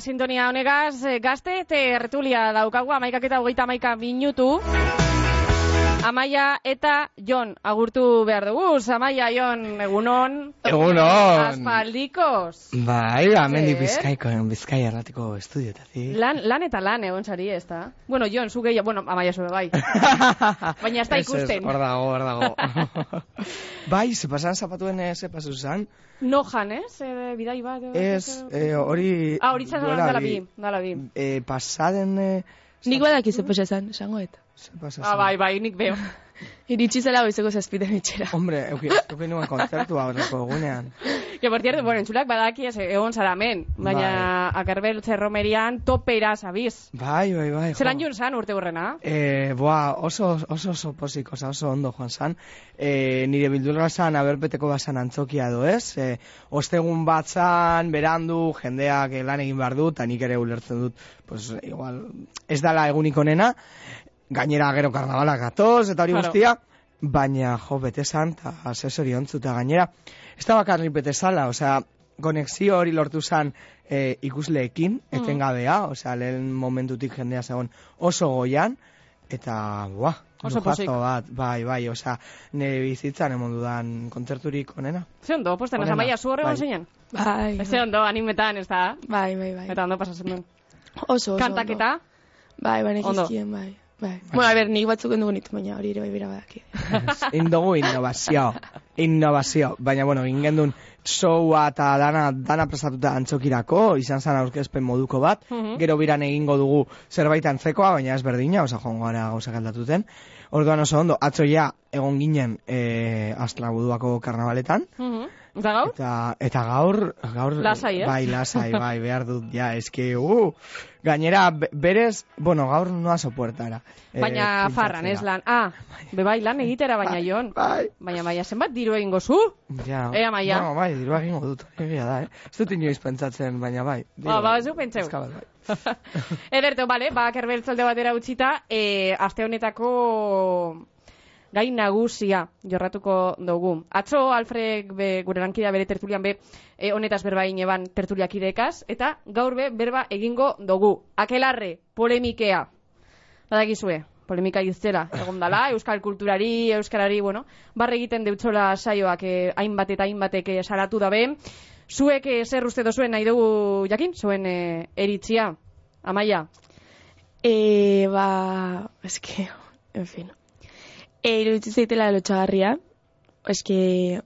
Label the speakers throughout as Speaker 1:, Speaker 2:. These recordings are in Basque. Speaker 1: sintonia honegaz, eh, gazte tertulia daukagu, amaikak eta hogeita amaika minutu. Amaia eta Jon agurtu behar dugu. Amaia, Jon, egunon.
Speaker 2: Egunon.
Speaker 1: Aspaldikos.
Speaker 2: Bai, amendik
Speaker 1: Zer?
Speaker 2: bizkaiko, bizkai erratiko estudiotatik.
Speaker 1: Lan, lan eta lan egon zari, ez da? Bueno, Jon, zu gehiago, bueno, amaia zure bai. Baina ez da
Speaker 2: Ez, ez,
Speaker 1: ikusten.
Speaker 2: Hor dago, hor dago. bai, ze pasan zapatuen eh, ze pasu zan.
Speaker 1: No jan, ez? Eh, bidai bat. eh,
Speaker 2: Ez, eh, hori...
Speaker 1: Ah, hori txan
Speaker 2: duela
Speaker 1: dala
Speaker 2: bi-
Speaker 1: bi, dala bi.
Speaker 2: Eh, pasaden... Eh,
Speaker 3: Nik badaki zepo esan, esango eta.
Speaker 2: ze pasa
Speaker 1: Ah,
Speaker 2: zan?
Speaker 1: bai, bai, nik beo.
Speaker 3: Iritsi zela goizeko zazpiten
Speaker 1: bai.
Speaker 3: etxera.
Speaker 2: Hombre, euki, euki nuen kontzertu aurreko egunean.
Speaker 1: Que, por cierto, bueno, entzulak badaki ez egon zara men. Baina, akarbeltze romerian topeira zabiz.
Speaker 2: Bai, bai, bai. jo.
Speaker 1: Zeran jun zan urte hurrena?
Speaker 2: Eh, boa, oso, oso, oso posik, oza, oso ondo joan zan. Eh, nire bildurra zan, aberpeteko bazan antzokia do, ez? Eh, ostegun bat zan, berandu, jendeak eh, lan egin behar du, eta nik ere ulertzen dut, pues, igual, ez dala egunik onena, gainera gero karnabalak gatoz, eta hori
Speaker 1: Claro.
Speaker 2: guztia, baina jo, bete zan, eta asesori ontzuta gainera. Ez da bakarrik bete zala, osea, konexio hori lortu zan eh, ikusleekin,
Speaker 1: Mm.
Speaker 2: etengabea, osea, lehen momentutik jendea zegoen oso goian, eta, buah,
Speaker 1: Oso
Speaker 2: lujazo
Speaker 1: pozik.
Speaker 2: bat, bai, bai, osea, nire bizitzan emon dudan kontzerturik onena.
Speaker 1: Ze ondo, posten,
Speaker 2: Onena.
Speaker 1: amaia, zu hor egon
Speaker 2: Bai.
Speaker 1: zinen?
Speaker 3: Bai,
Speaker 1: Ze ondo, animetan, ez da?
Speaker 3: bai, bai, bai.
Speaker 1: Eta ondo pasatzen duen.
Speaker 3: Oso, oso. ondo.
Speaker 1: Kantaketa?
Speaker 3: Bai, banekizkien, bai. Bai. Bueno, a ber, nik batzuk endugu nitu, baina hori ere bai bera badaki.
Speaker 2: Indugu innovazio, innovazio, baina, bueno, ingen duen showa eta dana, dana prestatuta antzokirako, izan zan aurkezpen moduko bat,
Speaker 1: Mhm.
Speaker 2: gero biran egingo dugu zerbait antzekoa, baina ez berdina, oza, joan gara gauza galdatuten. Orduan oso ondo, atzo ja, egon ginen, e, astrabuduako karnabaletan,
Speaker 1: Mhm. Eta gaur?
Speaker 2: Eta, eta gaur, gaur...
Speaker 1: Lasai, eh?
Speaker 2: Bai, lasai, bai, behar dut, ja, eski, uh! Gainera, be- berez, bueno, gaur noa sopuertara. eh,
Speaker 1: Baina farran, ez
Speaker 2: pintatzera.
Speaker 1: lan. Ah, bebai lan egitera, baina jon.
Speaker 2: Bai,
Speaker 1: Baina, baina, zenbat diru egingo zu?
Speaker 2: ja.
Speaker 1: Ea, Maia.
Speaker 2: No, bai, dirua egingo dut, egia da, eh? Ez dut inoiz pentsatzen, baina bai.
Speaker 1: Ba, ba, ez du pentseu.
Speaker 2: pizka bat, bai.
Speaker 1: Ederto, bale, ba, kerbeltzalde batera utzita, e, aste honetako gai nagusia jorratuko dugu. Atzo, Alfred be, gure lankidea bere tertulian be, e, honetaz berba ineban tertuliak idekaz, eta gaur be, berba egingo dugu. Akelarre, polemikea. Badakizue, polemika iztela, egon dala, euskal kulturari, euskarari, bueno, barre egiten deutzola saioak eh, hainbat eta hainbatek eh, salatu dabe. Zuek eh, zer uste dozuen nahi dugu jakin, zuen eh, eritzia, amaia.
Speaker 3: E, ba, eske, en fin. E, iruditzu zeitela lotxagarria. Eske,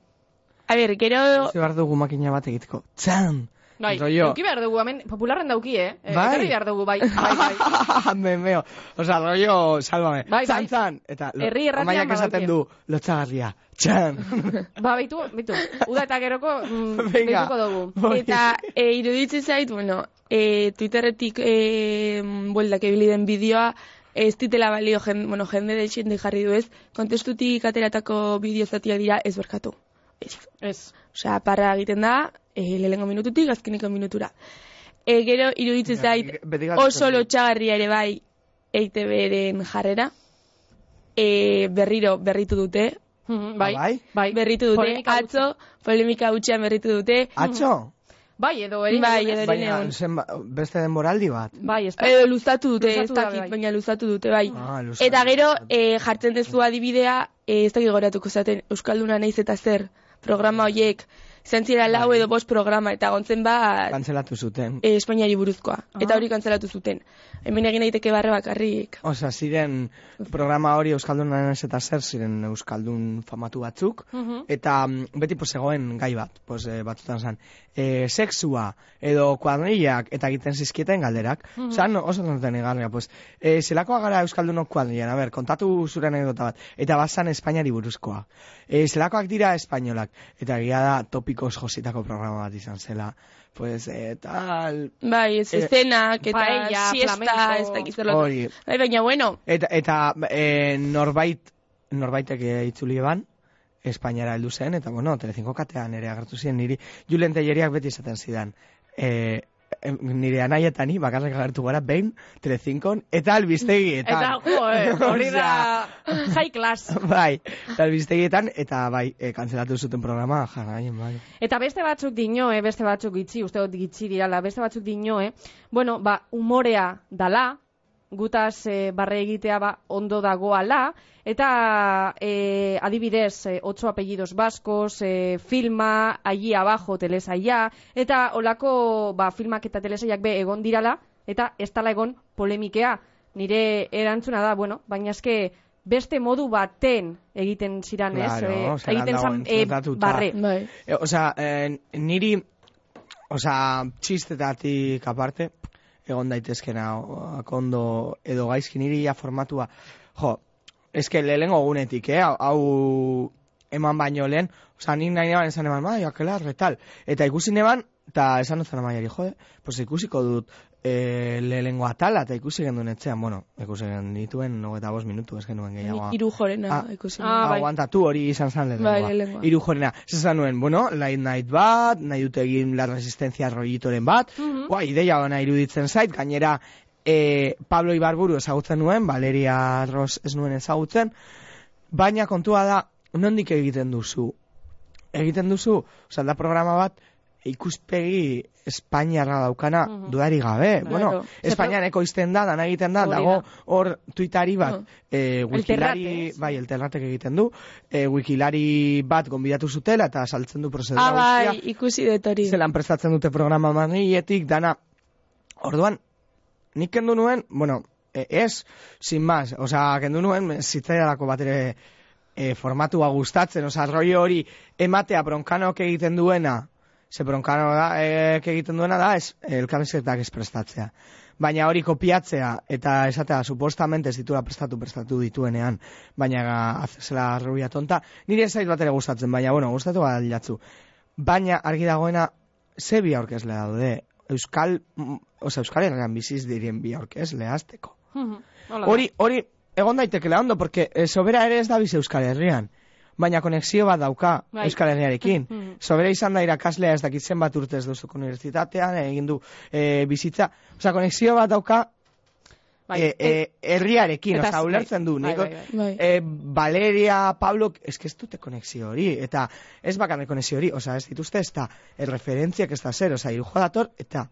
Speaker 3: a ber, gero...
Speaker 2: Utzi behar dugu makina bat egiteko. Txan!
Speaker 1: Bai,
Speaker 2: Rollo.
Speaker 1: eduki behar dugu, hemen, popularren dauki, eh? E,
Speaker 2: Bai.
Speaker 1: etorri behar dugu, bai, bai, bai.
Speaker 2: Memeo. Osa, rollo, sálvame.
Speaker 1: Bai,
Speaker 2: txan,
Speaker 1: bai.
Speaker 2: txan! Eta, lo-
Speaker 1: Herri erratian
Speaker 2: Amaiak esaten
Speaker 1: badaukie.
Speaker 2: du, lotxagarria. Txan!
Speaker 1: Ba, baitu, baitu. Uda eta geroko, mm,
Speaker 2: Venga.
Speaker 1: deituko dugu.
Speaker 2: Hori.
Speaker 3: Eta e, iruditzi zait, bueno, e, Twitterretik e, bueldak ebili den bideoa, ez ditela balio, jen, bueno, jende desinde jarri du ez, kontestutik ateratako bideo zatiak dira ez berkatu. Ez.
Speaker 1: Ez.
Speaker 3: Osea, parra egiten da, e, lehenengo minututik, azkeneko minutura. E, gero, iruditzi
Speaker 2: Ja,
Speaker 3: zait,
Speaker 2: beti galdetzen
Speaker 3: oso
Speaker 2: dut.
Speaker 3: lotxagarria ere bai EITB-ren jarrera. E, berriro, berritu dute.
Speaker 1: Mhm, Bai,
Speaker 2: Ah, bai?
Speaker 1: bai.
Speaker 3: Berritu dute,
Speaker 1: Polemika gutxi.
Speaker 3: atzo, polemika hutsean berritu dute.
Speaker 2: Atxo?
Speaker 1: Bai, edo eri.
Speaker 3: Bai,
Speaker 1: edo-
Speaker 3: edo- Eri
Speaker 2: Baina,
Speaker 3: neon.
Speaker 2: zenba- beste denboraldi bat.
Speaker 1: Bai, ez da.
Speaker 3: Edo luzatu dute,
Speaker 1: Luzatu
Speaker 3: ez
Speaker 1: da,
Speaker 3: dakit,
Speaker 1: bai.
Speaker 3: baina luzatu dute, bai.
Speaker 2: Ah, luzatu,
Speaker 3: eta gero,
Speaker 2: luzatu.
Speaker 3: e, jartzen dezu adibidea, e, ez dakit goratuko zaten, Euskalduna naiz eta zer, programa hoiek, zantziera lau
Speaker 2: Bai.
Speaker 3: edo bost programa, eta gontzen bat,
Speaker 2: Kantzelatu zuten.
Speaker 3: e, Espainiari buruzkoa. Eta hori kantzalatu zuten. Hemen egin daiteke barre bakarrik.
Speaker 2: Osa, ziren programa hori Euskaldun ez eta zer ziren Euskaldun famatu batzuk.
Speaker 1: Mhm.
Speaker 2: Eta mm, beti pues, zegoen gai bat, pues, eh, batzutan zan. E, sexua, edo kuadrillak, eta egiten zizkieten galderak. Mm oso tonten egarria, pues, e, zelakoa gara Euskaldunok kuadrillan, a ber, kontatu zure anekdota bat. Eta bazan Espainiari buruzkoa. E, zelakoak dira Espainolak. Eta egia da topikoz jositako programa bat izan zela. Pues, eh, tal,
Speaker 3: Bai, ez
Speaker 2: Eh,
Speaker 3: eszenak, eta
Speaker 1: paella,
Speaker 3: siesta,
Speaker 1: flamenco.
Speaker 3: ez dakit zer lotu.
Speaker 2: Hori.
Speaker 3: Bai, baina, bueno,
Speaker 2: Eta, eta e, norbait, norbaitek e, itzuli eban, Espainiara heldu zen, eta bueno, Telecinco katean ere agertu ziren niri, Julen Telleriak beti esaten zidan, e, em, nire anai eta ni bakarrik agertu gara behin Telecincon eta albistegietan.
Speaker 1: Eta, jo, eh, hori da high class.
Speaker 2: bai, eta albistegietan eta bai, e, kanzelatu zuten programa jarraien bai.
Speaker 1: Eta beste batzuk dinoe, beste batzuk gitxi, uste dut gitxi dirala, beste batzuk dinoe, bueno, ba, umorea dala, gutaz e, barre egitea ba, ondo dagoala, eta e, adibidez, e, otso apellidos baskos, e, filma, allí abajo, telesaia, eta olako ba, filmak eta telesaiak be egon dirala, eta ez tala egon polemikea. Nire erantzuna da, bueno, baina eske beste modu baten egiten ziran,
Speaker 2: Claro,
Speaker 1: ez? E,
Speaker 2: osea,
Speaker 1: egiten
Speaker 2: dago
Speaker 1: zan e,
Speaker 2: entzutatuta.
Speaker 1: barre.
Speaker 3: Bai.
Speaker 2: E, osea, eh, niri, osea, txistetatik aparte, egon daitezkena o- kondo edo gaizki niri ja formatua. Jo, eske lehengo gunetik, eh, hau- hau eman baino lehen, osea, nik nahi neban esan eman, bai, akelar, retal. Eta ikusi neban, eta esan dutzen amaiari, jode, pues ikusiko dut e, lehengo atala, eta ikusi genduen etxean, bueno, ikusi genduen dituen, nogeta bost minutu, ez genuen gehiago.
Speaker 3: Hiru jorena
Speaker 2: Ah.
Speaker 3: ikusi.
Speaker 1: Ah. bai.
Speaker 2: aguantatu hori izan zen lehenengoa.
Speaker 3: Bai, lehenengoa.
Speaker 2: Hiru jorena. Zezan nuen, bueno, light night bat, nahi dut egin la resistencia rollitoren bat,
Speaker 1: Mhm.
Speaker 2: Guai, ideia ona iruditzen zait, gainera e, Pablo Ibarburu ezagutzen nuen, Valeria Ross ez nuen ezagutzen, baina kontua da, nondik egiten duzu? Egiten duzu, osea, da programa bat, ikuspegi Espainiarra daukana
Speaker 1: Mhm.
Speaker 2: dudari gabe.
Speaker 1: Claro.
Speaker 2: Bueno, Espainian ekoizten da, dana egiten da,
Speaker 1: Hori da.
Speaker 2: dago hor tuitari bat,
Speaker 3: Mhm.
Speaker 2: eh, wikilari,
Speaker 1: Terrate, ez?
Speaker 2: bai, elterratek egiten du, eh, wikilari bat gonbidatu zutela eta saltzen du prozedura
Speaker 3: Ah,
Speaker 2: guztia
Speaker 3: bai, ikusi dut hori.
Speaker 2: zelan prestatzen dute programa maniletik, dana, orduan, nik kendu nuen, bueno, e- ez, sin más, osea, kendu nuen, zitzaidalako bat ere e, formatua gustatzen, osea, rollo hori ematea bronkanok egiten duena, ze bronkano da, e, egiten duena da, ez, elkabezketak ez prestatzea. Baina hori kopiatzea eta esatea supostamente ez dituela prestatu prestatu dituenean, baina zela rubia tonta, nire ez zait bat ere gustatzen, baina bueno, gustatu bat jatzu. Baina argi dagoena, ze bi aurkezle daude, Euskal, mm, osea, Euskal Herrian biziz diren bi aurkezle azteko.
Speaker 1: Mhm. Hola da.
Speaker 2: Hori, hori, egon daitekela ondo, porque eh, sobera ere ez da bizi Euskal Herrian. Baina konexio bat dauka
Speaker 1: Bai.
Speaker 2: Euskal Herriarekin.
Speaker 1: Mhm.
Speaker 2: Sobera izan da irakaslea ez dakit zenbat urtez duzuk unibertsitatean, egin du eh, bizitza. Osea, konexio bat dauka
Speaker 1: Bai,
Speaker 2: eh, eh, herriarekin,
Speaker 1: eta
Speaker 2: osea,
Speaker 1: bai,
Speaker 2: ulertzen du.
Speaker 1: bai,
Speaker 2: Nik-
Speaker 1: bai, bai.
Speaker 3: Bai.
Speaker 2: Eh, Valeria, Pablo, es que ez dute konexio hori, eta ez bakarrik konexio hori, osea, ez dituzte ez da erreferentziak ez da zer, osea, irujo dator, eta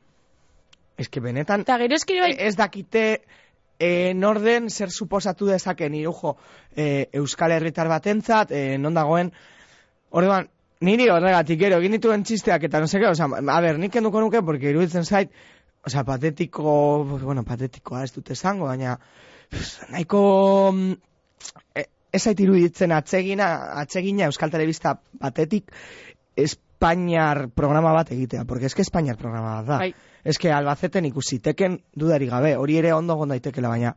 Speaker 2: es que benetan
Speaker 3: Eta gero bai, eskero
Speaker 2: e- ez dakite e, norden zer suposatu dezaken irujo e, euskal herritar batentzat, e, non dagoen, orduan, niri horregatik gero, egin dituen txisteak eta no seke, osea, a ber, nik kenduko nuke, porque iruditzen zait, osea, patetiko, bueno, patetikoa ez dut esango, baina pff, nahiko mm, e, ez zait iruditzen atsegina, atsegina euskal telebista batetik Espainiar programa bat egitea, porque eske Espainiar programa bat da.
Speaker 1: Bai.
Speaker 2: Eske Albaceten ikusiteken dudari gabe, hori ere ondo egon daitekeela, baina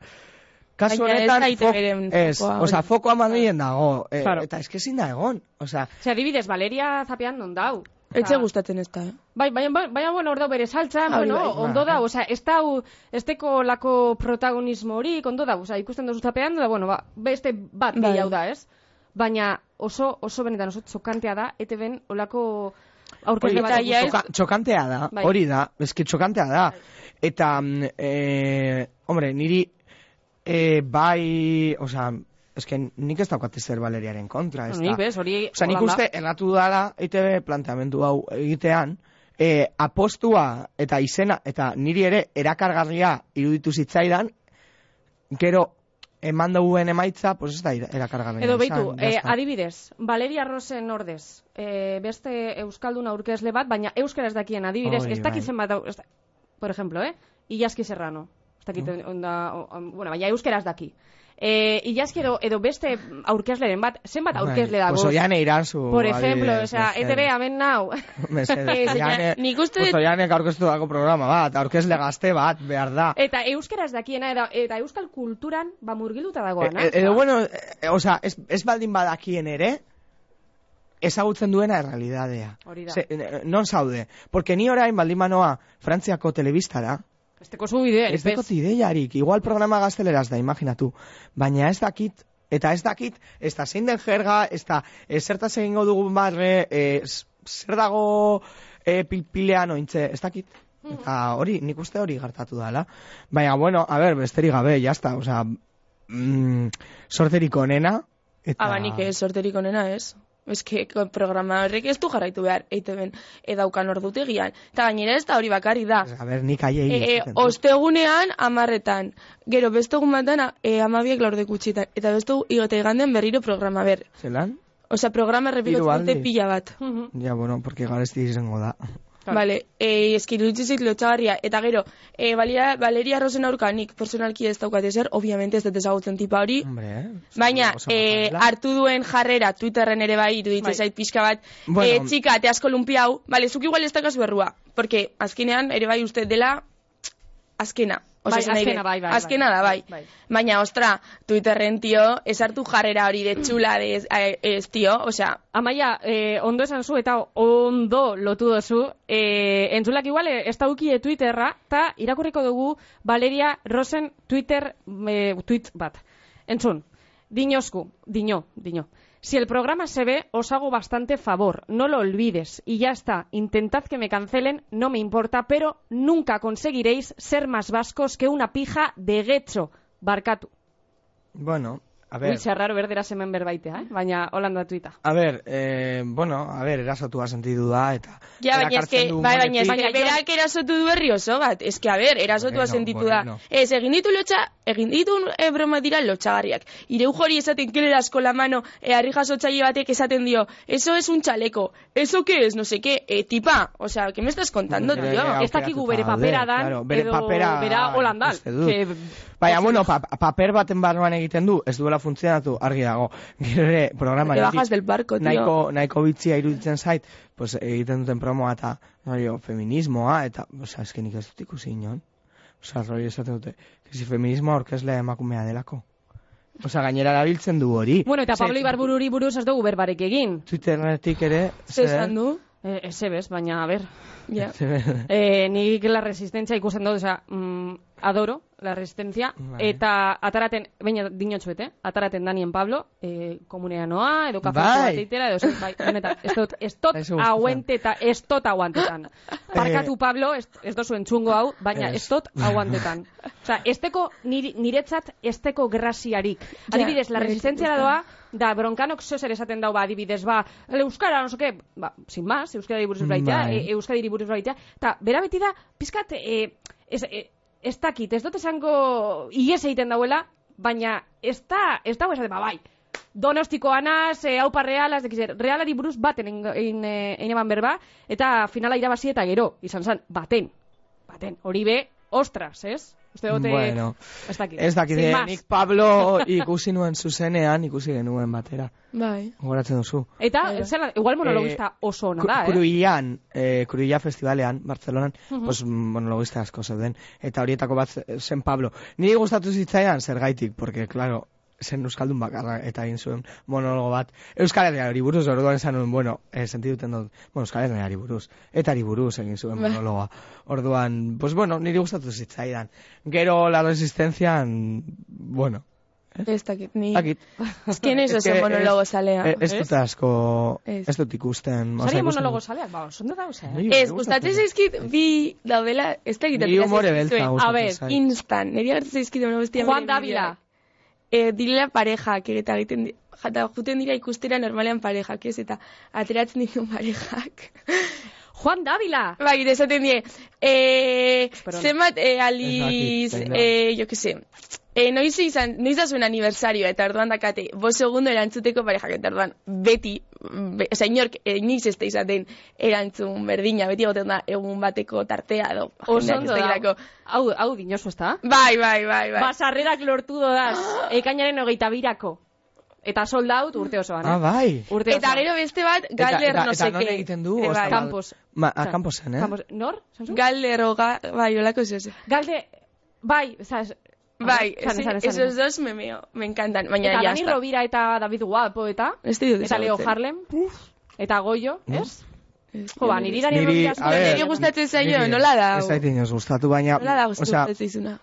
Speaker 2: kasu
Speaker 3: Baina ez
Speaker 2: honetan
Speaker 3: daite beren
Speaker 2: ez,
Speaker 3: fokoa,
Speaker 2: osea,
Speaker 3: hori.
Speaker 2: fokoa Madrilen dago, e,
Speaker 1: Claro.
Speaker 2: eta eske ezin da egon, osea,
Speaker 1: Ze adibidez, Valeria zapean non dau.
Speaker 3: etxe
Speaker 1: Osea,
Speaker 3: gustatzen ez da. eh?
Speaker 1: Bai, baina, bai- baina, bueno, hor dau bere saltza,
Speaker 3: Ah, hori
Speaker 1: bueno,
Speaker 3: bai.
Speaker 1: ondo
Speaker 2: Ba.
Speaker 1: dau, osea, ez dau, ez teko lako protagonismo horik, ondo dau, osea, ikusten duzu zapean, da, bueno, ba, beste bat
Speaker 3: Bai.
Speaker 1: gehiago da, ez? Baina oso, oso benetan oso txokantea da, ETBen olako
Speaker 2: Hori
Speaker 1: aurkezle bat
Speaker 2: txoka- txokantea da,
Speaker 1: Bai.
Speaker 2: hori da, eski txokantea da. Eta, mm, eh, hombre, niri, eh, bai, osea, eske nik ez daukate zer Valeriaren kontra, ez da.
Speaker 1: Nik bez, hori...
Speaker 2: Osa, nik
Speaker 1: holan da.
Speaker 2: uste, erratu dala EITB planteamendu hau egitean, e, apostua eta izena, eta niri ere erakargarria iruditu zitzaidan, gero eman duen emaitza, pues ez da ira- erakargarria.
Speaker 1: Edo
Speaker 2: izan,
Speaker 1: beitu,
Speaker 2: ya
Speaker 1: eh,
Speaker 2: está.
Speaker 1: adibidez, Valeria Rosen ordez, eh, beste Euskaldun aurkezle bat, baina Euskara ez dakien adibidez,
Speaker 2: Hori,
Speaker 1: ez dakit
Speaker 2: bai.
Speaker 1: zenbat, dau- ez da- por ejemplo, eh, Ilaski Serrano, ez dakit
Speaker 2: Mm.
Speaker 1: onda, o- on- bueno, baina Euskara ez daki. Eh, Ilaski edo, edo beste aurkezleren bat, zenbat aurkezle
Speaker 2: Bai,
Speaker 1: dago?
Speaker 2: Pues oiane iranzu.
Speaker 1: por ejemplo,
Speaker 2: adibidez,
Speaker 1: o sea, E
Speaker 2: mesedez.
Speaker 1: ETB amen nau.
Speaker 2: Mesedez,
Speaker 3: Eh, zeina-
Speaker 2: Oihane-
Speaker 3: nik uste
Speaker 2: pues
Speaker 3: dut-
Speaker 2: oihanek aurkeztu dago programa bat, aurkezle gazte bat, behar da.
Speaker 1: eta Euskara ez dakiena, eta, eta Euskal kulturan, ba, murgiluta dagoana. Ba,
Speaker 2: E- e- edo, bueno, e, o sea, ez, ez baldin badakien ere, ezagutzen duena errealidadea.
Speaker 1: Hori da.
Speaker 2: e, non zaude. Porque ni orain baldin banoa Frantziako telebistara,
Speaker 1: Esteko zubidea,
Speaker 2: ez dekot ideiarik, igual programa gazteleraz da, imaginatu. Baina ez dakit, eta ez dakit, ez da zein den jerga, ez da, e, zertaz eh, egingo dugun barre, e, z- zer dago e, pilpilean eh, ointze, ez dakit.
Speaker 3: Hmm.
Speaker 2: Eta hori, nik uste hori gertatu dala. Baina, bueno, a ber, besterik gabe, jazta, osea, mm, sorterik onena. Eta...
Speaker 3: Ah, ba, nik ez, sorterik onena ez. Ez que ko- programa horrek ez du jarraitu behar, eiteben, edaukan ordutegian. Eta gainera ez da hori bakarri da.
Speaker 2: Ez, A ber, nik aiei.
Speaker 3: E, e,
Speaker 2: Bai, esaten dut.
Speaker 3: ostegunean amarretan, gero beste egun batan e, amabiak laurde gutxitan, eta beste gu- eta igandean berriro programa ber.
Speaker 2: Zelan?
Speaker 3: Osa, programa
Speaker 2: Hiru
Speaker 3: errepikatzen dute
Speaker 2: aldiz.
Speaker 3: pila bat.
Speaker 1: Mhm.
Speaker 2: Ja, bueno, porque garesti izango da.
Speaker 1: Claro.
Speaker 3: Vale, e, eskiruitzu zit lotxagarria, eta gero, e, Valeria, Valeria Rosen aurka nik personalki ez daukat ezer, obviamente ez dut ezagutzen tipa hori,
Speaker 2: Hombre, eh?
Speaker 3: Baina,
Speaker 2: Oso
Speaker 3: e,
Speaker 2: maja dela.
Speaker 3: hartu duen jarrera, Twitterren ere bai, iruditzen
Speaker 1: Bai.
Speaker 3: zait pixka bat,
Speaker 2: Bueno.
Speaker 3: eh, txika, te asko lumpi hau, bale, zuk igual ez dakazu errua, porque azkenean ere bai uste dela azkena.
Speaker 1: Bai,
Speaker 3: esan nahi
Speaker 1: azkena
Speaker 3: dut,
Speaker 1: bai, bai, bai.
Speaker 3: azkena da, bai.
Speaker 1: Bai.
Speaker 3: Baina, ostra, Twitterren, tio, ez hartu jarrera hori de txula, de ez, eh, ez, tio, osea,
Speaker 1: Amaia, eh, ondo esan zu eta ondo lotu dozu. Eh, entzulak igual eh, ez daukie Twitterra, eta irakurriko dugu Valeria Rosen Twitter eh, tweet bat. Entzun, diñosku, diño, diño. Si el programa se ve, os hago bastante favor. No lo olvides. Y ya está. Intentad que me cancelen, no me importa, pero nunca conseguiréis ser más vascos que una pija de getxo. Barkatu.
Speaker 2: Bueno, a
Speaker 1: Ui,
Speaker 2: ver...
Speaker 1: txarraro berdera semen berbaitea, eh? baina holanda tuita.
Speaker 2: A ber, eh, bueno, a ber, erasotua sentidu da, eta...
Speaker 3: Ja, baina
Speaker 2: erakartzen
Speaker 3: eske,
Speaker 2: du
Speaker 3: bai, baina
Speaker 2: humoretik.
Speaker 3: eske,
Speaker 1: Baina jo-
Speaker 3: berak erasotu du herri oso bat. Eske, a ber, erasotua
Speaker 2: Bueno,
Speaker 3: sentitu da.
Speaker 2: bueno.
Speaker 3: Ez, egin ditu lotxa, egin ditu e, broma dira lotxagarriak. Ireu jori esaten kelera asko la mano, e, harri jasotzaile batek esaten dio, eso es un chaleco, eso que es, no sé qué, e, tipa, o sea, que me estás contando,
Speaker 2: Bere
Speaker 3: tío?
Speaker 2: aukeratuta
Speaker 1: Ez dakigu bere
Speaker 2: daude,
Speaker 1: papera dan,
Speaker 2: bere
Speaker 1: edo
Speaker 2: papera
Speaker 1: bera holandal,
Speaker 2: ikusten dut.
Speaker 1: que-
Speaker 2: Baina, bueno, pa paper baten barruan egiten du, ez duela funtzionatu, argi dago. Gero ere, programa...
Speaker 3: Te bajas del barco, tío.
Speaker 2: Nahiko, nahiko bitzia iruditzen zait, pues, egiten duten promoa eta, rollo, feminismoa, eta, osea, eskenik ez dut ikusi inon. Osea, rollo esaten dute, que si feminismoa orkezlea emakumea delako. Osea, gainera erabiltzen du hori.
Speaker 1: Bueno, eta
Speaker 2: Ze-
Speaker 1: Pablo Ibarbururi buruz ez dugu berbarek egin.
Speaker 2: Twitterretik ere...
Speaker 3: Ze esan du?
Speaker 1: Eh, ez ebes, baina, a ber,
Speaker 3: Ja.
Speaker 1: eh, nik la resistencia ikusten dut, oza, mm, adoro, la resistencia,
Speaker 2: Bai.
Speaker 1: eta ataraten, baina dinotxuet, eh? ataraten Danien Pablo, eh, komunea noa, edo kafe
Speaker 2: Bai.
Speaker 1: bat eitera, edo, bai, honetan, ez dut, ez dut
Speaker 2: Zaizu gustatzen.
Speaker 1: aguanteta, ez dut aguantetan. Parkatu Pablo, ez, ez dozu entzungo hau, baina ez
Speaker 2: Ez.
Speaker 1: dut aguantetan. Oza, esteko, niri, niretzat, esteko graziarik.
Speaker 3: Ja,
Speaker 1: adibidez, la
Speaker 3: niri
Speaker 1: resistencia
Speaker 3: gusta.
Speaker 1: da doa, da, bronkanok zozer esaten dau, ba, adibidez, ba, "El euskara, no soke, ba, sin más, euskara buruz blaitea,
Speaker 2: Bai.
Speaker 1: e, euskadiri buruz blaitea, eta bera beti da, pizkat, e, ez, e, ez dakit, ez dut esango ies egiten dauela, baina ez da, ez dago esaten, ba, bai, Donostiko anaz, e, haupa realaz, dekiz, realari buruz baten egin- egin e, egin eban berba, eta finala irabazi eta gero, izan zen, baten, baten, hori be, ostras, ez? Uste dute,
Speaker 2: Bueno,
Speaker 1: ez dakit.
Speaker 2: Ez dakit,
Speaker 1: Sin
Speaker 2: eh,
Speaker 1: más.
Speaker 2: nik Pablo ikusi nuen zuzenean, ikusi genuen batera.
Speaker 3: Bai.
Speaker 2: Gogoratzen duzu.
Speaker 1: Eta,
Speaker 3: Bai, bai.
Speaker 1: zelan, igual monologista oso ona
Speaker 2: Kru-
Speaker 1: da, eh?
Speaker 2: Cruillan, eh, Cruilla Festivalean, Bartzelonan, pues, monologista asko zeuden. Eta horietako bat ze- zen Pablo. Niri gustatu zitzaian, zergaitik, porque, claro, zen Euskaldun bakarra eta egin zuen monologo bat. Euskal Herriari buruz, orduan esan nuen, bueno, eh, sentiduten dut, bueno, Euskal Herriari buruz, eta buruz egin zuen
Speaker 1: Ba.
Speaker 2: monologoa. Orduan, pues bueno, niri gustatu zitzaidan. Gero, la resistencian, bueno, ¿Eh?
Speaker 3: Ez dakit, ni...
Speaker 2: dakit.
Speaker 3: Ez que ez
Speaker 2: Ez
Speaker 3: oso
Speaker 2: que-
Speaker 3: monologo
Speaker 2: ez-
Speaker 3: zalea.
Speaker 2: Eh, Ez dut asko,
Speaker 3: Ez.
Speaker 2: ez dut ikusten.
Speaker 1: Sari
Speaker 2: osea, ikusten-
Speaker 1: monologo zaleak, ba, ondo dauze, eh?
Speaker 2: Niri
Speaker 3: Ez,
Speaker 2: gustatzen
Speaker 3: gustatzen
Speaker 2: zait.
Speaker 3: zaizkit bi daudela, ez da egiten.
Speaker 2: Niri humore beltza
Speaker 3: A
Speaker 2: gustatzen
Speaker 3: ber,
Speaker 2: zait.
Speaker 3: instan, niri gertatzen zaizkit una bestia.
Speaker 1: Juan
Speaker 3: bere
Speaker 1: Dávila.
Speaker 3: bideoak. Eh, direla parejak, eta egiten di- jata juten dira ikustera normalean parejak, ez? Eta ateratzen ditu parejak.
Speaker 1: Juan Dávila!
Speaker 3: bai, eta esaten die, eh,
Speaker 1: Esperona.
Speaker 3: zenbat eh,
Speaker 2: Ez
Speaker 3: aliz,
Speaker 2: dakit,
Speaker 3: eh, jo que se, eh, noiz, izan, noiz da zuen aniversario, eta orduan dakate, bos segundo erantzuteko parejak, eta orduan beti, be, oza, inork, eh, inoiz ez da izaten erantzun berdina, beti egoten da egun bateko tartea, edo,
Speaker 1: Oso
Speaker 3: jendeak ez
Speaker 1: ondo
Speaker 3: dakilako.
Speaker 1: da. Hau, hau dinosu, ez da?
Speaker 3: Bai, bai, bai, bai.
Speaker 1: Basarrerak lortu dodaz, ekainaren hogeita birako. Eta sold out urte osoan. eh?
Speaker 2: Ah, bai.
Speaker 1: Urte
Speaker 3: Eta
Speaker 1: osoan.
Speaker 3: gero beste bat,
Speaker 2: Eta-
Speaker 3: Galer
Speaker 2: eta-
Speaker 3: no
Speaker 2: eta
Speaker 3: sé
Speaker 2: non
Speaker 3: qué.
Speaker 2: egiten du?
Speaker 3: Eh,
Speaker 2: Ostra,
Speaker 3: bai.
Speaker 2: Kampo.
Speaker 1: Campos.
Speaker 2: Ma, a
Speaker 1: Osea,
Speaker 2: Camposen, eh?
Speaker 1: Campos. Nor? Sansu?
Speaker 3: Galer o ga, bai, olako zehoz.
Speaker 1: Galde, bai, zaz,
Speaker 3: Bai,
Speaker 1: esan,
Speaker 3: ese-
Speaker 1: esan, esan.
Speaker 3: esos dos me meo, me encantan, baina
Speaker 1: Eta
Speaker 3: ya
Speaker 1: Dani
Speaker 3: está.
Speaker 1: Rovira eta David Guapo eta
Speaker 3: Ez dit
Speaker 1: eta Leo
Speaker 3: ezagutzen.
Speaker 1: Harlem eta Goio, ez?
Speaker 3: Ez
Speaker 1: Jo, ba,
Speaker 3: dit
Speaker 1: niri
Speaker 3: ezagutzen.
Speaker 1: Dani
Speaker 2: Niri-
Speaker 1: Rovira
Speaker 2: a ber,
Speaker 1: zure-
Speaker 3: Niri gustatzen zaio,
Speaker 2: Niri ez-
Speaker 3: nola da?
Speaker 2: Ez zait inoz gustatu, baina...
Speaker 3: Nola da
Speaker 2: osea,
Speaker 3: gustatzen zaizuna?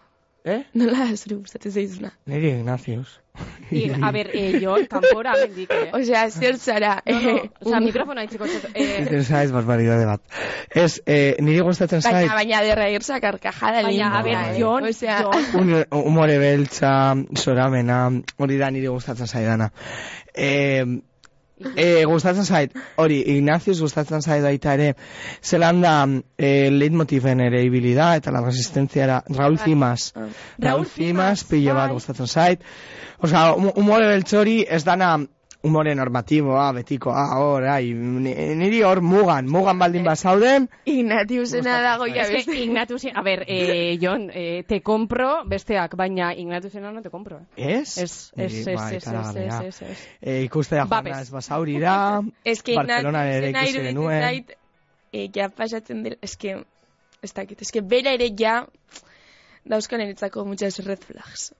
Speaker 2: Eh?
Speaker 3: Nola zuri gustatzen zaizuna.
Speaker 2: Niri Ignazius.
Speaker 1: I, a ber, e, jo, kanpora mendik, eh?
Speaker 3: Osea, zer zara.
Speaker 1: No, no, oza,
Speaker 3: un-
Speaker 1: mikrofono haitziko txot. Eh,
Speaker 2: Egiten zaiz barbaridade bat. Ez, eh, niri gustatzen zait,
Speaker 3: Baina, baina derra irsa karkajada
Speaker 1: baina, a
Speaker 2: Linda,
Speaker 1: ber,
Speaker 2: eh.
Speaker 1: Jon,
Speaker 3: Osea,
Speaker 1: Jon,
Speaker 2: un- umore beltza, soramena, hori da niri gustatzen zaidana. Eh, eh, gustatzen zait, hori, Ignazius gustatzen zait baita ere, zelan da eh, leitmotiven ere ibili da, eta la resistentziara, Raúl Cimas.
Speaker 3: Ah.
Speaker 1: Raúl
Speaker 2: Raúl
Speaker 1: Cimas,
Speaker 2: Cimas, pilo bat
Speaker 1: bai.
Speaker 2: gustatzen zait. Osa, hum- humore beltzori ez dana humore normatiboa, betikoa, hor, ai, ni- niri hor mugan, mugan baldin bazauden,
Speaker 3: Ignatiusena dago ja
Speaker 1: Es que
Speaker 3: beste.
Speaker 1: Ignatius, a ber, eh, Jon, eh, te compro besteak, baina Ignatiusena no te compro. eh.
Speaker 2: ez?
Speaker 1: Ez, ez,
Speaker 2: Niri,
Speaker 1: ez,
Speaker 2: bai,
Speaker 1: ez, ez,
Speaker 2: ikaragarria.
Speaker 1: ez, ez, ez.
Speaker 2: E, ikustea
Speaker 1: Babes.
Speaker 2: joan ez basaurira,
Speaker 3: Ez que
Speaker 2: Barcelona ere
Speaker 3: Ignatiusena
Speaker 2: ikusi
Speaker 3: iruditzen
Speaker 2: genuen.
Speaker 3: zait, eh, ja pasatzen dela, ez que, ez dakit, ez que bera ere ja dauzkan eretzako muchas red flags.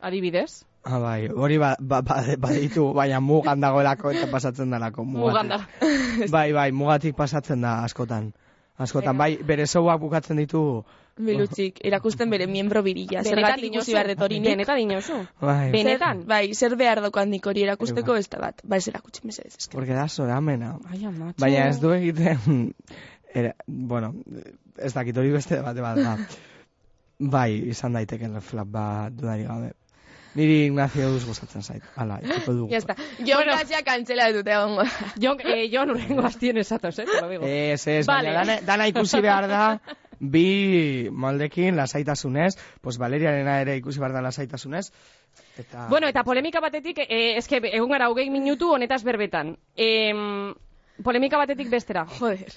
Speaker 1: Adibidez?
Speaker 2: Ah, bai, hori ba, ba, ba, baditu, baina mugan dagoelako eta pasatzen dalako. mugatik.
Speaker 1: Muganda.
Speaker 2: Bai, bai, mugatik pasatzen da askotan. Askotan, bai, bere zauak bukatzen ditu.
Speaker 3: Bilutzik, erakusten bere miembro birila. Zergatik ikusi behar dut hori nik.
Speaker 1: Benetan dinozu.
Speaker 2: Bai,
Speaker 1: Bene-
Speaker 2: Bene.
Speaker 1: Benetan?
Speaker 3: Zer- Bai, zer behar daukan nik hori erakusteko ez da bat. Ba, ez erakutsi mesedez. ez que-
Speaker 2: porque da soramena.
Speaker 1: Ai, amatxo.
Speaker 2: Baina ez du egiten... Era, bueno, ez dakit hori beste bate bat da. Bai, izan daiteke reflap bat dudari gabe. Niri Ignacio duz gustatzen zait. Hala, ikiko dugu.
Speaker 3: Ya está. Yo bueno. kantzela kantzela dut egongo. da.
Speaker 1: Jon, eh, Jon urrengo hastien esatoz, eh, te lo digo.
Speaker 2: Ez, ez,
Speaker 1: Vale.
Speaker 2: baina dana, dana ikusi behar da, bi moldekin lasaitasunez, pues Valeriarena ere ikusi behar da lasaitasunez, eta...
Speaker 1: Bueno, eta polemika batetik, eh, eske egun gara hogei minutu honetaz berbetan. Em, polemika batetik bestera.
Speaker 3: Joder.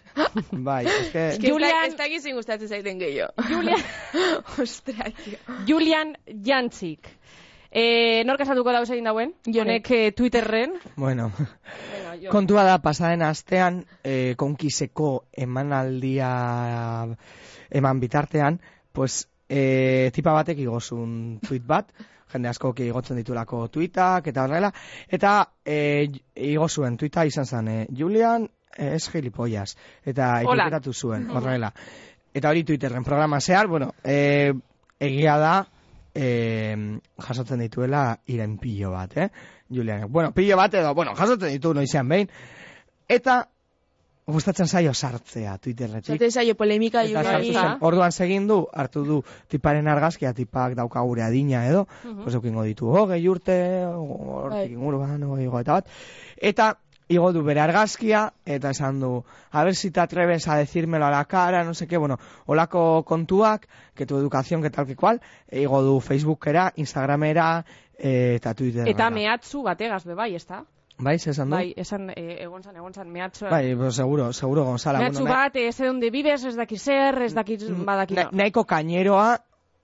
Speaker 2: Bai, eske...
Speaker 3: Ez que
Speaker 1: Julian-
Speaker 3: Julian... ez dakiz gustatzen zaiten gehiago.
Speaker 1: Julian-
Speaker 3: Ostra, tio.
Speaker 1: Julian Jantzik. Eh, nork azalduko dauz egin dauen? Jonek eh, Twitterren.
Speaker 2: Bueno,
Speaker 1: Venga, Jon.
Speaker 2: kontua da, pasaden astean, eh, konkiseko emanaldia eman bitartean, pues, eh, tipa batek igozun tweet bat, jende asko igotzen ditulako tuitak, eta horrela, eta eh, igozuen tuita izan zen, eh, Julian, eh, ez gilipollas, eta
Speaker 1: Hola.
Speaker 2: ikutetatu zuen, horrela. Eta hori Twitterren programa zehar, bueno, eh, egia da, eh, jasotzen dituela iren pilo bat, eh? Julian, bueno, pilo bat edo, bueno, jasotzen ditu noizean behin, eta gustatzen zaio sartzea Twitterretik.
Speaker 3: Zaten zaio polemika
Speaker 2: Eta sartu
Speaker 1: Juliani.
Speaker 2: zen, orduan segin du, hartu du tiparen argazkia, tipak dauka gure adina edo, pues eukingo ditu hogei urte, hortik
Speaker 3: Bai.
Speaker 2: inguruan, hogei goita bat. Eta igo du bere argazkia, eta esan du, a ver si te atreves a decírmelo a la cara, no sé qué, bueno, olako kontuak, que tu educación, que tal, que cual, e, igo du Facebookera, Instagramera, eh, eta Twitterera.
Speaker 1: Eta mehatzu bategaz be bai, ezta?
Speaker 2: Bai, ze esan du?
Speaker 1: Bai, esan eh, egon zan, egon zan mehatzu.
Speaker 2: Bai, pues, seguro, seguro, Gonzala.
Speaker 1: mehatzu
Speaker 2: bueno, Mm,
Speaker 1: bat, eh, ez donde bibes, ez daki zer, ez daki badaki.
Speaker 2: Na- nahiko kaineroa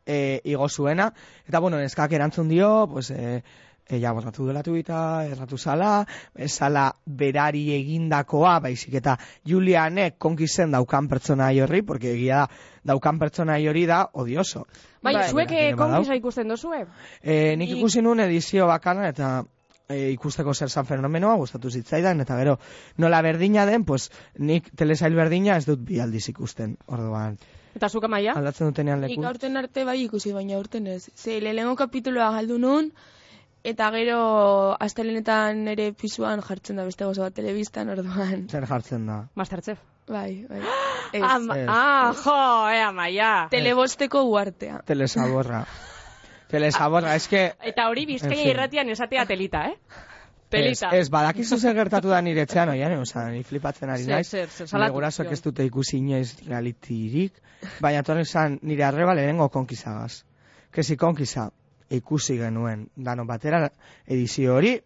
Speaker 2: e, igo zuena, eta bueno, neskak erantzun dio, pues, e, e, ja, borratu dela tuita, erratu zala, e, zala berari egindakoa, baizik eta Julianek konkizen daukan pertsona horri, porque egia da, daukan pertsona hori da odioso.
Speaker 1: Bai,
Speaker 3: Bai.
Speaker 1: zuek eh,
Speaker 2: Badau.
Speaker 1: konkisa ikusten dozue?
Speaker 2: E, nik
Speaker 3: Nik-
Speaker 2: ikusi nuen edizio bakana, eta e, ikusteko zer san fenomenoa gustatu zitzaidan, eta gero nola berdina den, pues nik telesail berdina ez dut bi aldiz ikusten, orduan.
Speaker 1: Eta zuk amaia?
Speaker 2: Aldatzen dutenean
Speaker 3: Nik
Speaker 2: leku.
Speaker 3: aurten arte bai ikusi, baina aurten ez. Ze, lehenengo kapituloa galdu nun, eta gero astelenetan ere pisuan jartzen da beste gozo bat telebistan, orduan.
Speaker 2: Zer jartzen da.
Speaker 1: Masterchef.
Speaker 3: Bai, bai. Ez.
Speaker 1: Ama,
Speaker 2: Ez.
Speaker 1: ah, jo, eh, amaia.
Speaker 3: Telebosteko uartea.
Speaker 2: Telesaborra. Telesaborra, es que...
Speaker 1: Eta hori bizkaia
Speaker 2: En fin.
Speaker 1: irratian esatea telita, eh?
Speaker 2: Ez,
Speaker 1: Pelita.
Speaker 2: ez, badakizu zer gertatu da nire etxean, oian, oza, ni flipatzen ari
Speaker 1: Zer,
Speaker 2: naiz.
Speaker 1: zer, zer,
Speaker 2: Nire
Speaker 1: salatu,
Speaker 2: gurasoak
Speaker 1: Jon.
Speaker 2: ez dute ikusi inoiz realitirik, baina torri zan nire arreba lehenengo konkizagaz. Kesi konkiza ikusi genuen, dano batera edizio hori,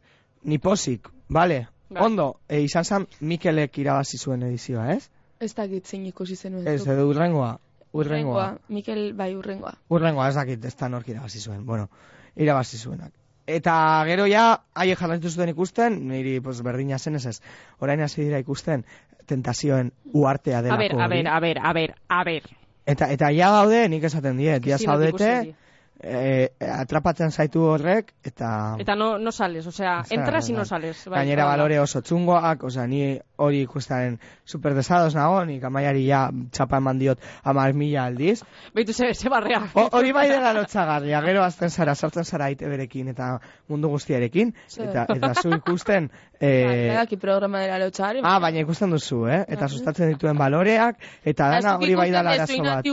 Speaker 2: ni posik, bale,
Speaker 1: Bai.
Speaker 2: ondo, e, izan zan Mikelek irabazi zuen edizioa, ez?
Speaker 3: Ez dakit zein ikusi zenuen.
Speaker 2: Ez,
Speaker 3: zuk.
Speaker 2: edo urrengoa, urrengoa.
Speaker 3: Mikel, bai, urrengoa.
Speaker 2: Urrengoa ez dakit, ez da nork irabazi zuen, bueno, irabazi zuenak. Eta gero ja, haiek jarraitu zuten ikusten, niri pues, berdina zen ez ez, orain hasi dira ikusten tentazioen uartea
Speaker 1: A
Speaker 2: delako.
Speaker 1: ver, a ver,
Speaker 2: hori.
Speaker 1: a ver, a ver, a ver.
Speaker 2: Eta, eta ja daude, nik esaten diet,
Speaker 1: Kristina,
Speaker 2: ja
Speaker 1: nik uste
Speaker 2: zaudete,
Speaker 1: hori.
Speaker 2: e, atrapatzen zaitu horrek, eta...
Speaker 1: Eta no, no sales, osea,
Speaker 2: Zera,
Speaker 1: entras y no
Speaker 2: bai.
Speaker 1: sales. bai,
Speaker 2: Gainera
Speaker 1: hala da.
Speaker 2: balore oso txungoak, osea, ni hori ikustaren super desados nago, nik amaiari ja txapa eman diot amar mila aldiz.
Speaker 1: Beitu ze, ze barrea.
Speaker 2: O- Hori bai dela lotxagarria, gero azten zara, sartzen zara aite berekin eta mundu guztiarekin,
Speaker 3: Zer.
Speaker 2: eta, eta zu ikusten... E,
Speaker 3: Eh, Badaki programa dela lotxari.
Speaker 2: ah, baina ikusten duzu, eh? Eta
Speaker 3: Bai.
Speaker 2: sustatzen dituen baloreak, eta dana hori bai dela arazo bat.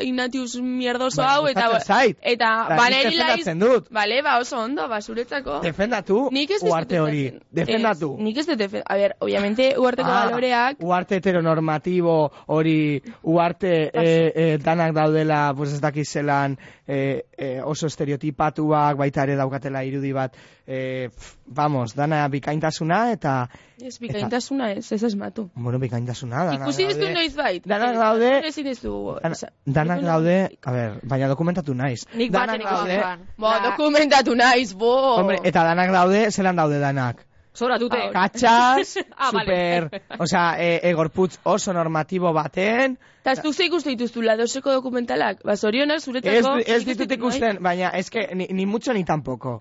Speaker 3: Ignatius mierdoso
Speaker 2: Baina
Speaker 3: hau, eta... ba-
Speaker 2: gustatzen zait.
Speaker 3: Eta
Speaker 2: Eta nik
Speaker 3: baleri laiz...
Speaker 2: defendatzen dut.
Speaker 3: Bale, ba oso ondo, ba, zuretzako.
Speaker 2: Defendatu
Speaker 3: Nik ez dut
Speaker 2: uarte hori.
Speaker 3: defendatzen.
Speaker 2: Defendatu.
Speaker 3: Ez, nik ez dut defend... A ber, obviamente, uarteko
Speaker 2: Ah,
Speaker 3: baloreak...
Speaker 2: Uarte heteronormatibo hori, uarte
Speaker 3: Bai.
Speaker 2: e, e, danak daudela, pues ez dakiz zelan e, e, oso estereotipatuak, baita ere daukatela irudi bat, e, pf, vamos, dana bikaintasuna eta,
Speaker 3: Ez, bikaintasuna ez, ez esmatu.
Speaker 2: bueno, bikaintasuna, dana
Speaker 3: Ikusi ez du
Speaker 2: daude-
Speaker 3: noiz bait.
Speaker 2: Danak daude,
Speaker 3: Ezin ez du...
Speaker 2: dana-
Speaker 3: esan-
Speaker 2: danak
Speaker 3: Ikusi-
Speaker 2: daude, a ber, baina dokumentatu naiz.
Speaker 1: Nik
Speaker 2: Danak
Speaker 1: baten ikusten
Speaker 2: daude,
Speaker 1: joan.
Speaker 3: Bo, Ba, dokumentatu naiz, bo!
Speaker 2: hombre, eta danak daude, zelan daude danak.
Speaker 1: Zora dute.
Speaker 2: Katxas,
Speaker 1: Ah, vale.
Speaker 2: super, o sea, e, e, gorputz oso normatibo baten,
Speaker 3: Eta ez duzte ikuste dituztu ladoseko dokumentalak. Ba, zorionak
Speaker 2: Ez,
Speaker 3: zuretzako... bai.
Speaker 2: ez ditut ikusten, baina eske ni, ni mucho ni tampoco.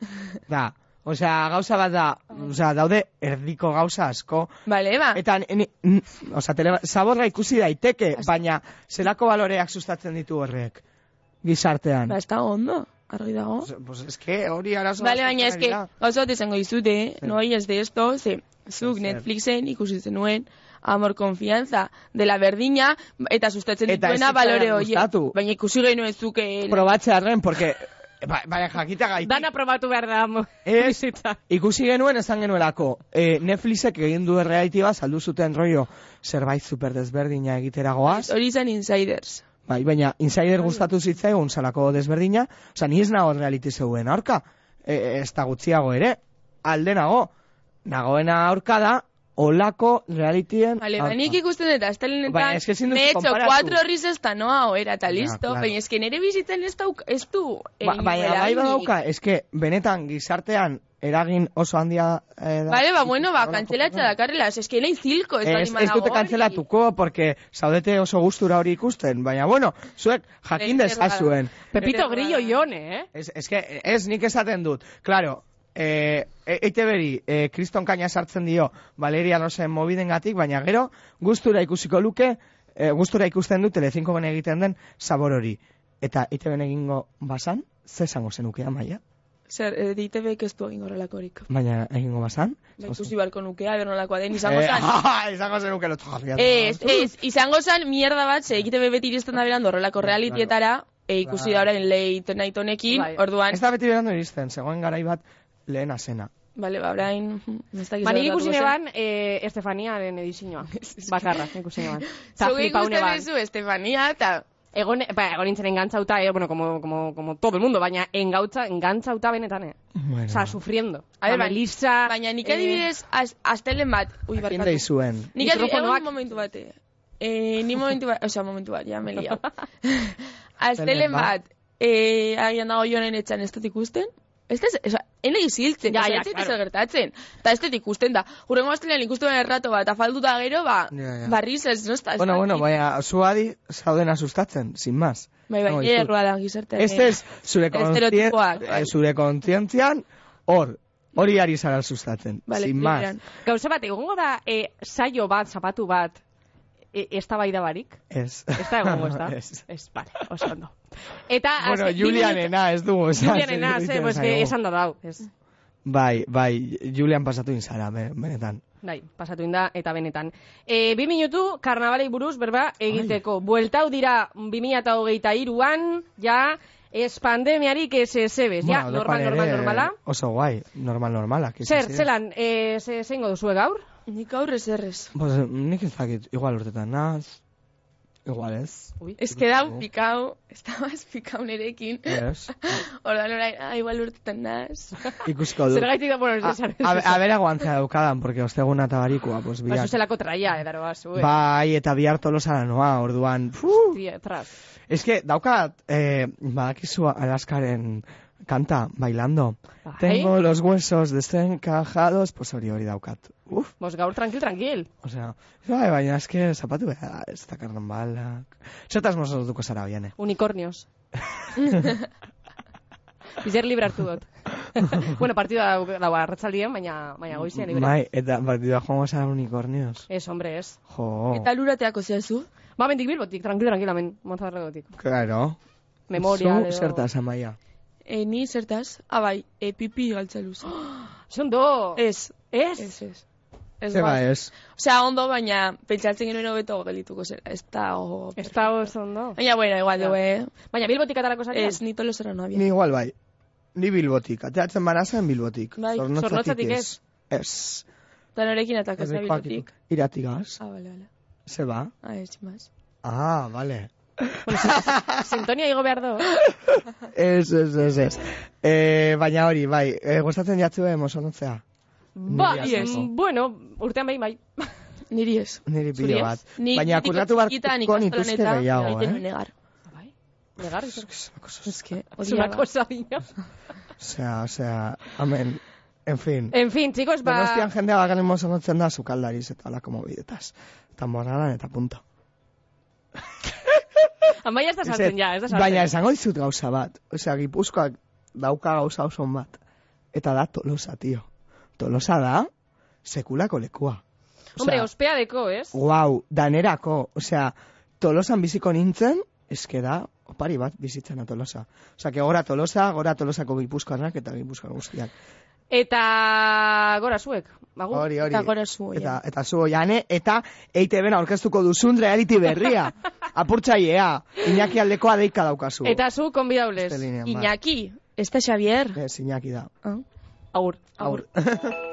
Speaker 2: Da. Osea, gauza bat da, osea, daude erdiko gauza asko.
Speaker 3: Bale, ba.
Speaker 2: Eta, ni- ni, n- osea, tele, zaborra ikusi daiteke, baina zelako baloreak sustatzen ditu horrek gizartean.
Speaker 3: Ba, ez dago ondo, argi dago.
Speaker 2: Pues, pues eske hori arazo
Speaker 3: Bale,
Speaker 2: asko
Speaker 3: baina
Speaker 2: izan ari
Speaker 3: eske,
Speaker 2: da.
Speaker 3: gauza bat esango izute,
Speaker 2: Zer.
Speaker 3: no hayas de esto, ze, zuk
Speaker 2: Zer.
Speaker 3: Netflixen ikusi zenuen, amor konfianza dela berdina, eta sustatzen
Speaker 2: Eta ez
Speaker 3: dituena
Speaker 2: zitzaidan
Speaker 3: balore horiek.
Speaker 2: gustatu.
Speaker 3: Baina ikusi genuen eh, zuke...
Speaker 2: Probatzearren, porque, ba, baina jakita gaitik.
Speaker 1: Dana probatu behar da. mo-
Speaker 2: Ez,
Speaker 1: bizitza.
Speaker 2: ikusi genuen esan genuelako, e, Netflixek egin du reality bat, saldu zuten rollo, zerbait super desberdina egiteragoaz.
Speaker 3: Hori izan insiders.
Speaker 2: Bai, baina insider gustatu zitzaigun salako desberdina, osea, ni ez nago reality zeuen aurka, e, e, ez da gutxiago ere, alde nago, nagoena aurka da, olako realityen
Speaker 3: Vale,
Speaker 2: aurka.
Speaker 3: ba, nik ikusten dut,
Speaker 2: Baina
Speaker 3: astelenetan,
Speaker 2: eske ezin duzu
Speaker 3: me he hecho
Speaker 2: konparatu.
Speaker 3: cuatro risas eta noa oera, eta listo,
Speaker 2: claro.
Speaker 3: baina eske nere bizitzen ez, dauk, ez du... eh,
Speaker 2: Ba,
Speaker 3: egin
Speaker 2: baina
Speaker 3: duela
Speaker 2: bai
Speaker 3: nik.
Speaker 2: badauka, eske, benetan gizartean eragin oso handia eh, da.
Speaker 3: Vale, ba, bueno, ba,
Speaker 2: Olako
Speaker 3: kantzelatza
Speaker 2: programak.
Speaker 3: dakarrela, ez que nahi zilko, ez,
Speaker 2: Ez,
Speaker 3: bali
Speaker 2: ez dute
Speaker 3: banago hori.
Speaker 2: kanzelatuko, porque zaudete oso gustura hori ikusten, baina bueno, zuek jakin
Speaker 3: Zer- zer gara.
Speaker 2: dezazuen.
Speaker 1: Pepito Grillo ione, eh?
Speaker 2: Ez, ez, que, ez nik esaten dut, claro, e, e, EITB-ri, e, kriston kaina sartzen dio Valeria Rosen mobidengatik, baina gero, gustura ikusiko luke, e, gustura ikusten du Telecinco ben egiten den sabor hori. Eta EITB egingo bazan, ze esango zenuke amaia?
Speaker 3: Zer, eh, DITB ez du egingo horrelakorik.
Speaker 2: Baina egingo bazan?
Speaker 3: Ba, ikusi barko nukea, bernolakoa den, izango
Speaker 2: Eh,
Speaker 3: zan.
Speaker 2: ah, izango zenuke lotu jarriat.
Speaker 3: Ez, ez, izango zan, mierda bat, ze E egite bebeti iristen da berando horrelako realitietara, e, ikusi da orain late night honekin,
Speaker 1: Bai.
Speaker 3: orduan,
Speaker 2: Ez da beti berandu iristen, zegoen garai bat lehena zena.
Speaker 3: bale, ba, orain, ez dakiz
Speaker 1: Ba, nik
Speaker 3: horrelako
Speaker 1: ikusi
Speaker 3: zen.
Speaker 1: neban eh, Estefaniaren edizioa. Bakarra, nik ikusi neban. Ta
Speaker 3: Zuge
Speaker 1: flipau
Speaker 3: ikusten
Speaker 1: neban.
Speaker 3: duzu, Estefania, eta...
Speaker 1: Egon, ba, egon nintzen engantzauta, eh, bueno, como, como, como todo el mundo, baina engautza, engantzauta benetan, eh?
Speaker 2: Bueno.
Speaker 1: Osa, sufriendo.
Speaker 3: A ver,
Speaker 1: Ba,
Speaker 3: baina-
Speaker 1: Melissa...
Speaker 3: Baina nik
Speaker 1: eh,
Speaker 3: adibidez, az- astelen bat, ui,
Speaker 2: Jakin
Speaker 3: barkatu.
Speaker 2: deizuen.
Speaker 3: Nik adi,
Speaker 1: Mikrofonoak.
Speaker 3: egon momentu bat, eh. Eh, ni momentu bat, osea, momentu bat, ja, me he liado. Aztelen
Speaker 2: bat.
Speaker 3: bat, eh, agian dago jonen etxan ez dut ikusten. Ez da, oza, ene iziltzen,
Speaker 1: Ja,
Speaker 3: ja,
Speaker 1: ja,
Speaker 3: ja, ez
Speaker 1: claro.
Speaker 3: claro. gertatzen. Eta ez dut ikusten da. Jurengo astelean ikusten errato bat, afaldu da gero, ba,
Speaker 2: Ja, ja.
Speaker 3: barriz ez, no? ba, Está,
Speaker 2: Bueno, bai. bueno, baina zuadi zauden asustatzen, sin más.
Speaker 3: Bai, bai,
Speaker 2: No,
Speaker 3: nire
Speaker 2: izut.
Speaker 3: errua da gizartean. eh.
Speaker 2: Ez ez, zure, kontien,
Speaker 3: Estereotipoak,
Speaker 2: eh,
Speaker 3: bai.
Speaker 2: zure kontzientzian, hor, hori ari zara sustatzen.
Speaker 3: Vale,
Speaker 2: sin más.
Speaker 3: bidean.
Speaker 1: Gauza bat, egongo da eh, saio bat, zapatu bat, eh, ez da bai da barik?
Speaker 2: Ez.
Speaker 1: Ez da egongo, ez da?
Speaker 2: Ez.
Speaker 1: Ez, bale, oso ondo. Eta...
Speaker 2: Bueno,
Speaker 1: azken bi minutu-
Speaker 2: Julianena ez dugu. esan,
Speaker 1: Julianena,
Speaker 2: zer
Speaker 1: ze, pues,
Speaker 2: iruditzen
Speaker 1: que
Speaker 2: zaigu.
Speaker 1: esan da dau, ez.
Speaker 2: Bai, bai, Julian pasatu inzara, be- benetan.
Speaker 1: Bai, pasatu inda eta benetan. E, bi minutu, karnabalei buruz, berba, egiteko.
Speaker 2: Bai.
Speaker 1: Bueltau dira 2008an, ja, ez pandemiarik ez ez ebes. Ja,
Speaker 2: Bueno,
Speaker 1: normal,
Speaker 2: dokoan
Speaker 1: normal,
Speaker 2: ere
Speaker 1: normala.
Speaker 2: Oso guai, normal, normalak. izan
Speaker 1: Zer,
Speaker 2: ziren.
Speaker 1: zelan, e, ze, zeingo duzue gaur?
Speaker 3: Nik aurrez errez.
Speaker 2: Pues, nik ez dakit, igual urtetan naz, igual ez.
Speaker 1: Ui,
Speaker 3: Ez que dau pikau, ez da más pikau nerekin.
Speaker 2: Ez.
Speaker 3: Ordan orain, ah, igual urtetan naz.
Speaker 2: Ikusiko du.
Speaker 1: zer gaitik da, bueno, ez
Speaker 2: Ah, A,
Speaker 1: desan.
Speaker 2: a, a bera guantzea daukadan, porque osteguna eta barikua, pues
Speaker 1: Ba,
Speaker 2: biak.
Speaker 1: zuzelako traia, edaro, ba, zu, eh.
Speaker 2: Bai, eta bihar tolosara noa, orduan. Puh.
Speaker 1: Tria, tras.
Speaker 2: Es que daukat, eh, badakizu Alaskaren kanta, bailando.
Speaker 1: Bai.
Speaker 2: Tengo los huesos desencajados, pues hori hori daukat. Uf,
Speaker 1: Bos, gaur, tranquil, tranquil.
Speaker 2: o sea, bai, baina eske zapatu behar, ez da eh. karnan balak. Zertaz mozatuko zara biane.
Speaker 1: Unicornios. Bizer libre hartu dut. bueno, partida dau- dago arratsaldien, baina, baina goizean libre.
Speaker 2: Bai, eta partidua joango zara unicornios.
Speaker 1: Ez, hombre, ez.
Speaker 2: Jo,
Speaker 3: Eta lurateako zehazu?
Speaker 1: Ba, mendik bilbotik, tranquilo, tranquila, men, montadarregotik.
Speaker 2: claro.
Speaker 1: Memoria,
Speaker 2: Zu zertaz, amaia.
Speaker 3: E, ni zertaz? Ah, bai, e, pipi galtza luze.
Speaker 1: Son do.
Speaker 3: Ez,
Speaker 1: Ez?
Speaker 3: ez, ez. Ez
Speaker 1: ba,
Speaker 2: Zeba
Speaker 1: bai.
Speaker 3: guaz.
Speaker 2: ez.
Speaker 3: Osea, ondo, baina pentsatzen genuen hobeto gelituko zera. Ez da, ojo.
Speaker 1: Ez da oso ondo.
Speaker 3: Baina, bueno, igual
Speaker 1: Ja.
Speaker 3: dugu, eh?
Speaker 1: Baina bilbotik atarako zarean.
Speaker 3: Ez, ni tolo zera no
Speaker 2: Ni igual bai. Ni bilbotik, ateratzen bana zen bilbotik.
Speaker 3: Bai,
Speaker 1: zornotzatik
Speaker 2: ez. Ez.
Speaker 3: Eta norekin atako
Speaker 2: Ez
Speaker 3: zera
Speaker 2: joakitu.
Speaker 3: bilotik.
Speaker 2: Iratik az.
Speaker 3: Ah, bale, bale.
Speaker 2: Zeba.
Speaker 3: Ah, ez, sin más.
Speaker 2: Ah, vale.
Speaker 1: Sintonia igo behar eh? do.
Speaker 2: Ez, ez, ez, ez. E, baina hori, bai, e, gustatzen jatzu emo sonotzea.
Speaker 1: Ba,
Speaker 2: Niri asko.
Speaker 1: mm, bueno, urtean behin bai.
Speaker 3: Niri ez.
Speaker 2: Niri
Speaker 1: Zuri
Speaker 2: pilo
Speaker 1: ez?
Speaker 2: bat.
Speaker 3: Ni,
Speaker 2: baina
Speaker 3: ni
Speaker 2: kurratu
Speaker 3: txikitan
Speaker 2: barko nituzke
Speaker 3: ikastolan eta
Speaker 2: gehiago,
Speaker 3: egiten nuen
Speaker 2: eh?
Speaker 3: negar.
Speaker 1: Bai. Negar, ez
Speaker 3: Ez que,
Speaker 1: es una
Speaker 3: odiaba.
Speaker 1: cosa, niño.
Speaker 2: Osea, osea, amen. En fin.
Speaker 1: En fin, chicos, ba...
Speaker 2: Donostian jendea bakarren mozonotzen da sukaldariz eta alako mobidetas. Eta moralan eta punto.
Speaker 1: Amaia bai, ez da saltzen,
Speaker 2: Ez,
Speaker 1: ja, ez da saltzen.
Speaker 2: Baina esango dizut gauza bat. Osea, gipuzkoak dauka gauza oso on bat. Eta da tolosa, tio. Tolosa da, sekulako lekua.
Speaker 1: Hombre, ospea deko, ez?
Speaker 2: Guau, danerako. Osea, tolosan biziko nintzen, eske da, opari bat bizitzen a tolosa. Osea, que gora tolosa, gora tolosako gipuzkoanak eta gipuzkoan guztiak.
Speaker 1: Eta gora zuek, bagu.
Speaker 2: Hori, hori.
Speaker 3: Eta gora zu,
Speaker 1: eh.
Speaker 3: oian.
Speaker 2: Eta, eta zu, oiane, eta EITB-en aurkeztuko duzun reality berria. Apurtzailea. Iñaki aldekoa deika daukazu. bai.
Speaker 1: Eta zu, konbidaules.
Speaker 2: Beste linean, ba.
Speaker 3: Eh. Iñaki, ez da Xavier.
Speaker 2: Ez, Iñaki da.
Speaker 3: Ah.
Speaker 1: Agur.
Speaker 2: Aur.